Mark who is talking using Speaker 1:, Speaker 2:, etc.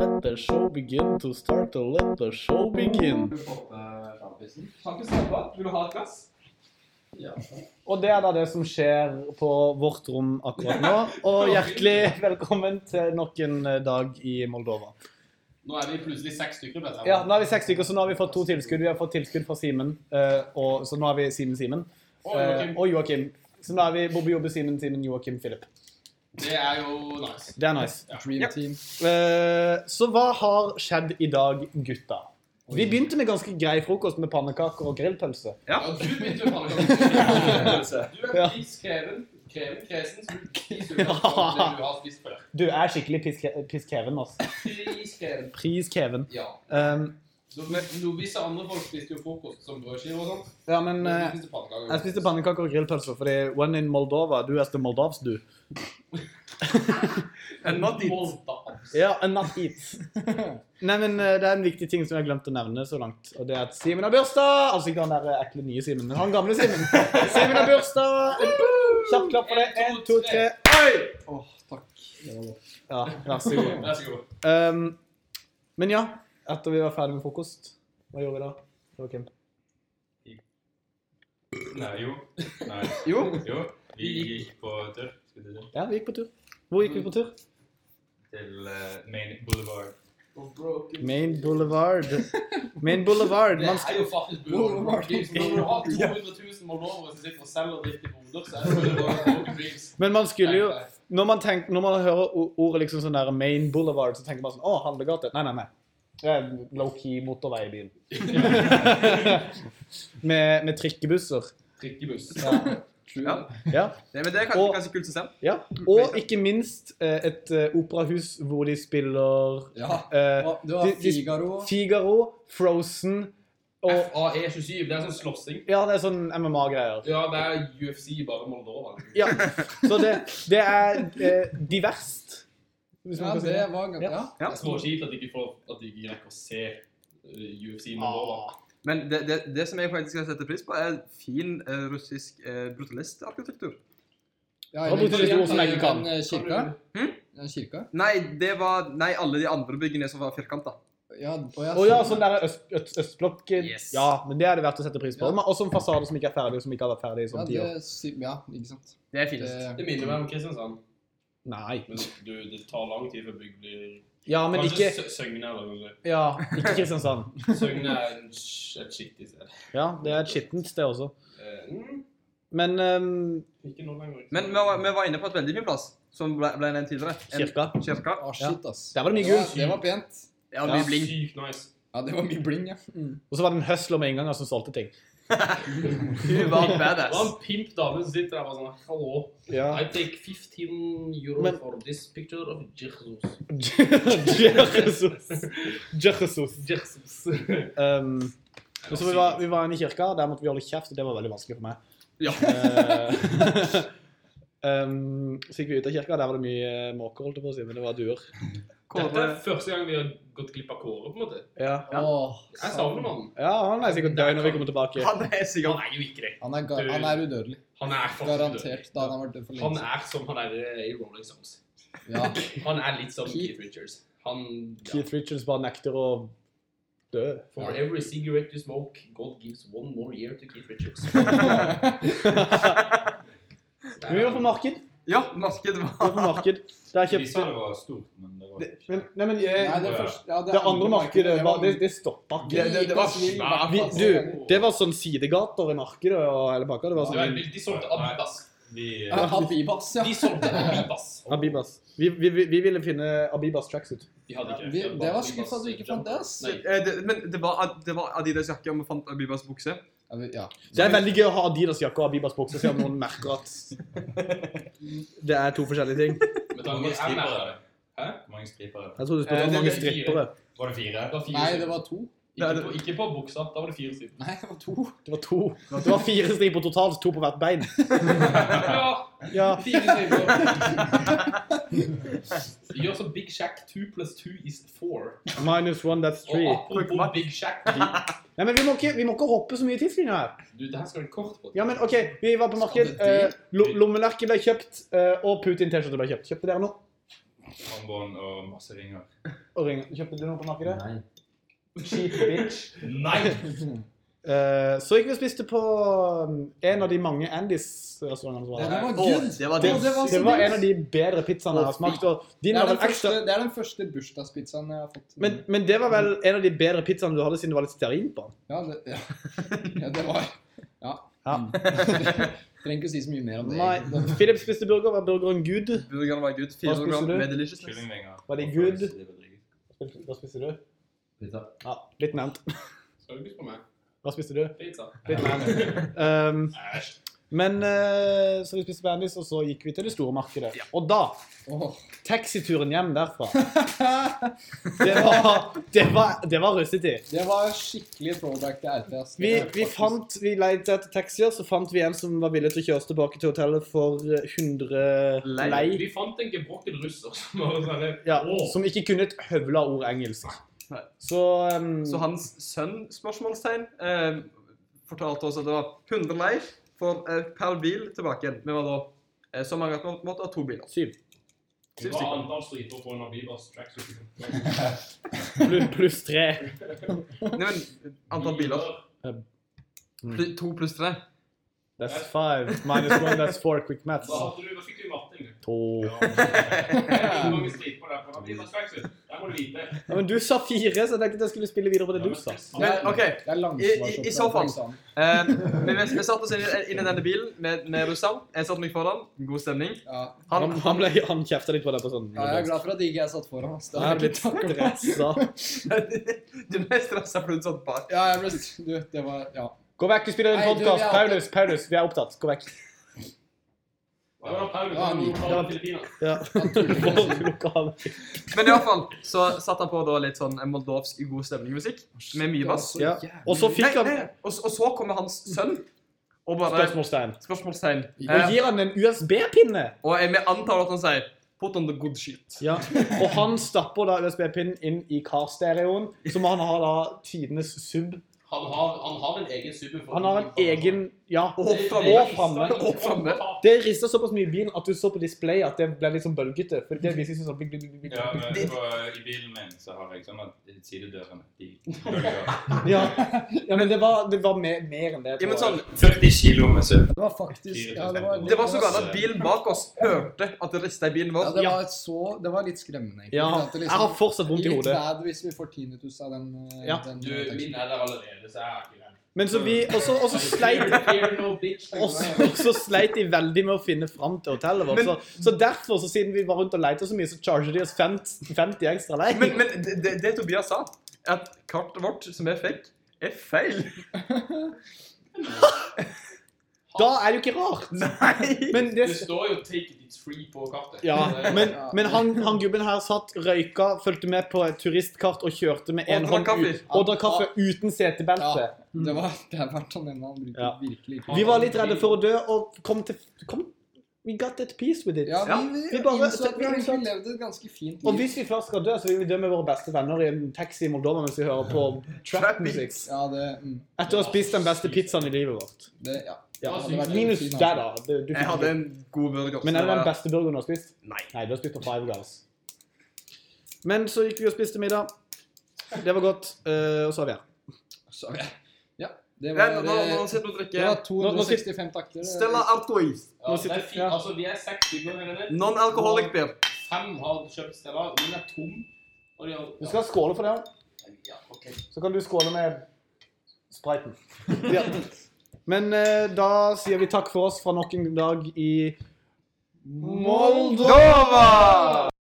Speaker 1: let the show begin to start to let the show begin.
Speaker 2: Har du fått eh, sjampisen?
Speaker 3: Kan ikke slappe av. Vil du ha et glass?
Speaker 2: Ja.
Speaker 1: Og det er da det som skjer på vårt rom akkurat nå. Og hjertelig velkommen til nok en eh, dag i Moldova.
Speaker 2: Nå er vi plutselig seks stykker. vet jeg.
Speaker 1: Ja, nå er vi seks stykker, så nå har vi fått to tilskudd. Vi har fått tilskudd fra Simen, eh, og så nå har vi Simen Simen.
Speaker 2: Og
Speaker 1: eh,
Speaker 2: Joakim.
Speaker 1: Og Joakim. Så nå er vi Bobby Jobbe, Simen Simen, Joakim Philip.
Speaker 2: Det er jo nice.
Speaker 1: Det er nice.
Speaker 4: Dream
Speaker 1: Ja.
Speaker 4: Team.
Speaker 1: Eh, Så hva har skjedd i dag, gutta? Vi begynte med ganske grei frokost med pannekaker og grillpølse.
Speaker 2: Ja, du begynte jo pannekaker. Du
Speaker 1: Ja.
Speaker 2: er pris kreven, kreven kresen, så du priser jo på det du har spist før.
Speaker 1: Du jeg er skikkelig piske- piskheven, altså.
Speaker 2: Pris kreven.
Speaker 1: Pris Kevin.
Speaker 2: Ja.
Speaker 1: Um,
Speaker 2: Så, men, no, visse andre folk spiste jo frokost som brødskiver og sånn.
Speaker 1: ja, men
Speaker 2: Men
Speaker 1: eh,
Speaker 2: du spiste pannekaker.
Speaker 1: jeg spiste pannekaker og grillpølser fordi when in Moldova, du er the Moldavs, du.
Speaker 2: Moldavs.
Speaker 1: Ja, and not eat. Nei, men eh, det er en viktig ting som jeg har glemt å nevne så langt. Og det er at Simen har bursdag! Altså ikke han der eh, ekle nye Simen, men han gamle Simen. Simen har bursdag! Kjapp klapp for det. Én, to, tre. Oi!
Speaker 4: Åh, takk. Det var godt.
Speaker 1: Ja, vær så god.
Speaker 2: Vær så god.
Speaker 1: Um, men ja, etter vi var ferdig med frokost, hva gjorde vi da? Joakim?
Speaker 5: Nei, jo. Nei.
Speaker 4: Jo.
Speaker 5: Jo. Vi gikk på tur skulle du si,
Speaker 1: Ja, vi gikk på tur. Hvor gikk vi på tur?
Speaker 5: til eh, Main Boulevard.
Speaker 2: Og broken.
Speaker 1: Main Boulevard. Main Boulevard.
Speaker 2: Det
Speaker 1: Man
Speaker 2: er jo faktisk Boulevard Dreams. Når du har 200 000 moldovere som sitter og selger og drikker boder, så er det Boulevard Dreams.
Speaker 1: Men man skulle jo Når man, tenk, når man hører o- ordet liksom sånn der Main Boulevard, så tenker man sånn Å, handlegate. Nei, nei, nei. Det er low-key motorvei i byen. med, med trikkebusser.
Speaker 2: Trikkebuss.
Speaker 4: Ja.
Speaker 1: Ja.
Speaker 4: Det, men det er kanskje,
Speaker 1: Og-
Speaker 4: kanskje kult å se.
Speaker 1: ja. Og ikke minst eh, et eh, operahus hvor de spiller
Speaker 4: Ja.
Speaker 1: eh,
Speaker 4: Du
Speaker 1: har
Speaker 4: Figaro.
Speaker 1: Figaro, Frozen og
Speaker 2: FAE27, det er sånn slåssing.
Speaker 1: Ja, det er sånn MMA-greier.
Speaker 2: Ja, det er UFC bare Moldova.
Speaker 1: Ja. Så det, det er eh, diverst. Hvis man kan si det.
Speaker 4: var
Speaker 1: Ja.
Speaker 2: Det er småkjipt at de ikke får, at de ikke rekker å se eh, UFC
Speaker 4: Ah.
Speaker 1: Ah.
Speaker 2: Moldova.
Speaker 4: Men det, det, det som jeg faktisk setter pris på, er fin eh, russisk eh, brutalistarkitektur.
Speaker 6: Ja,
Speaker 1: Da brukte du et ord som jeg ikke kan.
Speaker 6: men, eh, Kirka?
Speaker 4: Hm?
Speaker 6: Ja, kirka?
Speaker 4: Nei, det var Nei, alle de andre byggene som var firkanta.
Speaker 6: Ja, og jeg
Speaker 1: Å ja, sånn der øst, øst, østblokk.
Speaker 4: Yes.
Speaker 1: Ja, men det er det verdt å sette pris på.
Speaker 6: Ja.
Speaker 1: Og så en fasade som ikke er ferdig, og som ikke har vært ferdig i
Speaker 6: ja,
Speaker 1: sånn ti
Speaker 6: det,
Speaker 1: år.
Speaker 6: sy- ja, ikke sant.
Speaker 4: Det er
Speaker 6: Det,
Speaker 4: finest.
Speaker 2: Det minner meg om Kristiansand.
Speaker 1: Nei.
Speaker 2: Men du, det tar lang tid før bygg blir
Speaker 1: Ja, men ikke
Speaker 2: Sø- Søgne eller noe.
Speaker 1: Ja, ikke Kristiansand.
Speaker 2: Søgne er en sh- et skittig sted.
Speaker 1: Ja, det er et skittent sted også.
Speaker 2: Eh, mm,
Speaker 1: Men ehm,
Speaker 2: Ikke nå lenger.
Speaker 4: Men vi var, vi var inne på et veldig fin plass, som ble, ble nevnt tidligere. En
Speaker 1: kirka
Speaker 4: kirke.
Speaker 6: ah, shit, ass.
Speaker 1: Der var det mye
Speaker 6: Ja,
Speaker 1: gull.
Speaker 6: det var pent.
Speaker 4: Ja,
Speaker 1: Ja.
Speaker 4: mye bling.
Speaker 2: Sykt nice.
Speaker 6: Ja, det var mye bling, ja.
Speaker 1: Og så var det en høsler med innganger som solgte ting.
Speaker 4: Hun var
Speaker 2: Det var
Speaker 4: badass.
Speaker 2: en pimp dame som sitter der bare sånn Hallo. I take 15 euro
Speaker 1: Men-
Speaker 2: for this picture of Jesus.
Speaker 1: Jesus. Jesus.
Speaker 2: Jesus.
Speaker 1: Um, men så vi var, vi var inne i kirka, der måtte vi holde kjeft, og det var veldig vanskelig for meg.
Speaker 4: Ja.
Speaker 1: Eh, um, så gikk vi ut av kirka, der var det mye måker, holdt jeg på å si, men det var duer.
Speaker 2: Dette
Speaker 4: Kåre.
Speaker 2: er første gang vi har gått glipp av Kåre, på en måte.
Speaker 1: Ja,
Speaker 4: Ja.
Speaker 6: Åh,
Speaker 2: Jeg savner mannen.
Speaker 1: ja han er sikkert død når vi kommer tilbake.
Speaker 4: Han er sikkert
Speaker 2: Han er jo ikke det.
Speaker 6: han er, ga han er udødelig.
Speaker 2: Han er faktisk
Speaker 6: Garantert. Da han har vært død for
Speaker 2: død.
Speaker 6: lenge
Speaker 2: Han
Speaker 6: siden.
Speaker 2: er som han er i Rolling Stones.
Speaker 6: Ja.
Speaker 2: Han er litt som
Speaker 6: Keith.
Speaker 2: Keith Richards. Han ja.
Speaker 1: Keith Richards bare nekter å dø.
Speaker 2: For every cigarette you smoke, God gives one more year to Keith Richards.
Speaker 1: Men vi var på marked.
Speaker 4: Ja, markedet
Speaker 1: Vi var
Speaker 4: var
Speaker 1: på marked. Der
Speaker 5: Vi sa
Speaker 1: kjøpte
Speaker 5: det var stort, men det var
Speaker 1: det,
Speaker 5: ikke
Speaker 1: men, Nei, men
Speaker 6: Nei,
Speaker 1: eh,
Speaker 6: det, første, ja,
Speaker 1: det andre markedet, var, det, det stoppa
Speaker 6: det,
Speaker 1: ikke.
Speaker 6: det, det var
Speaker 2: svært.
Speaker 1: Vi, du, det var sånn sidegater i markedet og hele pakka. Det var
Speaker 2: Det var
Speaker 1: sånn
Speaker 2: veldig- De solgte Abibas.
Speaker 5: Vi eh,
Speaker 6: Habibas, ja.
Speaker 2: De solgte Abibas.
Speaker 1: Abibas. Vi, vi, vi vi ville finne Abibas tracksuit.
Speaker 2: De hadde ikke.
Speaker 6: Vi- det var
Speaker 2: Abibas
Speaker 6: skuffet at du ikke fant det, ass.
Speaker 2: Nei.
Speaker 4: Eh, det, Men det var, det var Adidas jakke, og vi fant Abibas bukse.
Speaker 6: Ja, vi- ja.
Speaker 1: Det er veldig gøy å ha Adidas jakke og Abibas bukse, så noen merker at det er to forskjellige ting.
Speaker 2: Med
Speaker 5: Hvor
Speaker 2: tanke på
Speaker 5: mange
Speaker 2: jeg
Speaker 5: striper
Speaker 2: merker
Speaker 5: er
Speaker 2: det.
Speaker 5: det?
Speaker 2: Hæ?
Speaker 5: Hvor mange striper er det?
Speaker 1: Jeg tror du
Speaker 2: Eh,
Speaker 1: spurte
Speaker 2: det
Speaker 1: hvor mange
Speaker 2: blir fire.
Speaker 1: strippere.
Speaker 5: Var det fire?
Speaker 2: Det var fire
Speaker 6: Nei,
Speaker 2: sider.
Speaker 6: det var to.
Speaker 2: Ikke,
Speaker 4: det-
Speaker 2: på, ikke på buksa. Da var det fire sider.
Speaker 6: Nei, det var to.
Speaker 1: Det var to. Det var fire striper totalt, to på hvert bein.
Speaker 2: ja,
Speaker 1: Ja,
Speaker 2: fire sider. Gjør som Big Shack. Two plus two is four.
Speaker 1: Minus one, that's
Speaker 2: Og
Speaker 1: three.
Speaker 2: apropos Big Shack
Speaker 1: Nei, men vi må ikke, vi må ikke hoppe så mye i tidslinja her.
Speaker 2: Du, det her skal du kort på.
Speaker 1: Ja, men OK, vi var på marked. Eh, lo- lommelerke ble kjøpt, eh, og Putin-T-skjorte ble kjøpt. Kjøpte dere noe?
Speaker 5: Håndbånd og masse ringer.
Speaker 1: Og ring. Kjøpte du noe på markedet?
Speaker 7: Nei.
Speaker 1: Cheap bitch.
Speaker 5: Nei!
Speaker 1: Eh, så gikk vi og spiste på um, en av de mange Andys-restaurantene som var
Speaker 6: Det
Speaker 1: der.
Speaker 6: var
Speaker 4: Å,
Speaker 6: good.
Speaker 4: det var
Speaker 1: Det,
Speaker 4: digg.
Speaker 6: det var så
Speaker 1: det var
Speaker 6: digg.
Speaker 1: en av de bedre pizzaene jeg har smakt. Og
Speaker 6: Det
Speaker 1: din
Speaker 6: er
Speaker 1: var
Speaker 6: den
Speaker 1: vel ekstra
Speaker 6: første, det er den første bursdagspizzaen jeg har fått.
Speaker 1: men, men det var vel en av de bedre pizzaene du hadde siden det var litt stearin på den?
Speaker 6: Ja, det, ja. ja, det var Ja.
Speaker 1: Ja.
Speaker 6: Mm. Trenger ikke å si så mye mer om det. egentlig.
Speaker 1: Nei. Philip spiste burger. Var burgeren good?
Speaker 4: Burgerne var good. 400
Speaker 1: spiser
Speaker 4: gram
Speaker 1: du?
Speaker 4: med deliciousness.
Speaker 5: Kyllingvinger.
Speaker 1: Var de
Speaker 5: Og
Speaker 1: good?
Speaker 5: fries, det var dritgodt.
Speaker 1: Hva spiste du?
Speaker 7: Pizza.
Speaker 1: Ja, Litt nevnt.
Speaker 2: Skal du ikke på meg?
Speaker 1: Hva spiste du?
Speaker 2: Pizza.
Speaker 1: Litt nevnt. Um,
Speaker 5: Æsj.
Speaker 1: men eh, Så vi spiste på Andys, og så gikk vi til det store markedet. Og da
Speaker 6: Åh.
Speaker 1: Taxituren hjem derfra. Det var, det var, det var russetid.
Speaker 6: Det var skikkelig throwback til RT. ass. Det
Speaker 1: Vi,
Speaker 6: er
Speaker 1: vi
Speaker 6: faktisk-
Speaker 1: fant, vi leide etter taxier, så fant vi en som var villig til å kjøre oss tilbake til hotellet for 100
Speaker 4: Lei.
Speaker 1: lei.
Speaker 2: Vi fant en gebrokken russer som var sånn her,
Speaker 1: Ja,
Speaker 2: «Åh,
Speaker 1: som ikke kunne et høvla ord engelsk.
Speaker 4: Nei.
Speaker 1: Så, um,
Speaker 4: Så hans sønn, spørsmålstegn, eh, fortalte oss at det var 100 lei for, eh, per bil tilbake igjen. Vi var da eh, så mange at vi måtte ha to biler.
Speaker 1: Syv.
Speaker 2: Det
Speaker 4: Syv
Speaker 2: var
Speaker 4: stykker.
Speaker 2: antall striper på en av Bibers tracksuit.
Speaker 1: Plu- pluss tre.
Speaker 4: Nei, men antall biler. Pl to pluss tre.
Speaker 1: That's five. Minus one, that's four. Quick maths.
Speaker 2: Da hadde du, da fikk du matte, egentlig.
Speaker 1: To.
Speaker 2: Hvor mange striper der på en av Bibers tracksuit? Det må du vite.
Speaker 1: Ja, men du sa fire, så jeg tenkte jeg skulle spille videre på det du sa.
Speaker 4: Men Eh, OK.
Speaker 6: Det er
Speaker 4: I- i- i så fall.
Speaker 6: langsvarsoppdrag.
Speaker 4: Eh, men vi, vi satte oss inn, i- inn i denne bilen med, med russeren. Jeg satte meg foran. God stemning.
Speaker 6: Ja.
Speaker 1: Han,
Speaker 4: Han,
Speaker 1: han, ble, han kjefta litt på deg på sånn.
Speaker 6: ja, jeg er glad for at ikke jeg satt foran. ass. Det
Speaker 1: Jeg er
Speaker 6: hadde jeg
Speaker 1: blitt
Speaker 6: ikke taklet.
Speaker 1: stressa.
Speaker 4: du ble stressa fordi du satt bak.
Speaker 6: Ja, jeg ble Du, det var Ja.
Speaker 1: Gå vekk, vi spiller en
Speaker 6: Nei, du, vi er
Speaker 1: podkast.
Speaker 6: opptatt.
Speaker 1: Paulus, Paulus, vi er opptatt. Gå vekk.
Speaker 2: Det var da Paul
Speaker 6: Ja, han
Speaker 2: kom
Speaker 6: gikk.
Speaker 2: fra Filippinene.
Speaker 1: Ja. Vår lokale.
Speaker 4: Men iallfall så satte han på da litt sånn moldovsk god stemning-musikk med mye bass.
Speaker 1: Ja. Og så
Speaker 4: Nei,
Speaker 1: fikk han
Speaker 4: nei, og, og så kommer hans sønn og bare
Speaker 1: spørsmålstegn.
Speaker 4: Spørsmålstegn.
Speaker 1: Og
Speaker 4: Eh,
Speaker 1: gir han en USB-pinne.
Speaker 4: og jeg vi antar at han sier Put on the good shit.
Speaker 1: Ja. Og han stapper da USB-pinnen inn i carstereoen, så må han ha da tidenes sub.
Speaker 2: Han har, han har en egen super. for-
Speaker 1: Han har en egen Ja.
Speaker 4: Og
Speaker 1: det-
Speaker 4: framme.
Speaker 1: og framme.
Speaker 4: Og framme.
Speaker 1: Det rista såpass mye i bilen at du så på displayet at det ble litt sånn bølgete. For det viser seg sånn bling, bling, bling, bling.
Speaker 5: Ja, men på, I bilen min så har jeg sånn at sidedørene de bølger.
Speaker 1: Ja. ja, men det var, det var mer, mer enn det. tror
Speaker 4: Ja, men
Speaker 1: jeg.
Speaker 4: sånn,
Speaker 5: 40 kilo med søvn.
Speaker 6: Det var faktisk ja, det, var,
Speaker 4: det var så galt at bilen bak oss hørte at det rista i bilen
Speaker 6: Ja,
Speaker 4: vår.
Speaker 6: det var, et så, det var litt skremmende, egentlig.
Speaker 1: ja.
Speaker 6: for at det
Speaker 1: Jeg
Speaker 6: liksom-
Speaker 1: har fortsatt vondt i
Speaker 6: Litt
Speaker 1: hodet.
Speaker 6: bad hvis vi får tinnitus av den. eh,
Speaker 1: Ja.
Speaker 6: den
Speaker 2: Du, min er der allerede, så jeg er ikke der.
Speaker 1: Men så vi Og så og så sleit
Speaker 2: Fear no bitch.
Speaker 1: Og så- og så sleit de veldig med å finne fram til hotellet vårt. Så, så derfor, så siden vi var rundt og leita så mye, så charger de oss 50, 50 ekstra lei.
Speaker 4: Men, men det, det- det Tobias sa, er at kartet vårt som jeg fikk, er feil.
Speaker 1: Da er det jo ikke rart.
Speaker 4: Nei!
Speaker 1: Men,
Speaker 2: Det
Speaker 1: det,
Speaker 2: står jo 'take it it's free' på kartet.
Speaker 1: ja, men,
Speaker 6: Ja.
Speaker 1: men han, han gubben her satt, røyka, fulgte med på et turistkart og kjørte med én
Speaker 4: Og drakk
Speaker 1: hånd
Speaker 4: kaffe.
Speaker 1: ut. Og drakk kaffe uten setebelte.
Speaker 6: Det var det er verdt å nevne. Han bruker
Speaker 1: Ja.
Speaker 6: virkelig ikke
Speaker 1: Vi var litt redde for å dø og kom til kom, We got at peace with it.
Speaker 6: Ja, vi, vi,
Speaker 1: Vi bare-
Speaker 6: innså at vi
Speaker 1: vi innså
Speaker 6: egentlig
Speaker 1: at-
Speaker 6: levde et ganske fint
Speaker 1: Og
Speaker 6: liv.
Speaker 1: hvis vi først skal dø, så vil vi dø med våre beste venner i en taxi i Moldova mens vi hører på trap-musikk.
Speaker 6: Ja, det, mm,
Speaker 1: Etter å ha spist den beste pizzaen i livet vårt.
Speaker 6: det, ja.
Speaker 1: Ja,
Speaker 6: Det hadde vært
Speaker 1: Minus
Speaker 6: en fin
Speaker 1: der, da. Du, du fikk
Speaker 4: Jeg hadde
Speaker 1: ikke-
Speaker 4: en god burger. så
Speaker 1: Men er det
Speaker 4: var-
Speaker 1: den beste burgeren du har spist?
Speaker 4: Nei.
Speaker 1: Nei, du har spist på Five Guys. Men så gikk vi og spiste middag. Det var godt. eh, og så er vi her.
Speaker 6: Så, ja. ja.
Speaker 4: Nei,
Speaker 6: Det var, eh,
Speaker 4: Nå, nå, nå sitter du og
Speaker 6: det var
Speaker 4: drikker
Speaker 6: 265 takter.
Speaker 4: Stella Artois.
Speaker 2: Ja, det
Speaker 1: sitter-
Speaker 2: er fint.
Speaker 1: ja.
Speaker 2: Altså, vi er seks stykker her inne.
Speaker 4: Non-alcoholic beer.
Speaker 2: Fem har kjøpt Stella. Min er tom. Og de har,
Speaker 1: Du skal skåle for det.
Speaker 2: ja, ok.
Speaker 1: Så kan du skåle med spriten. Ja. Men eh, da sier vi takk for oss fra nok en dag i Molde!
Speaker 4: Nova!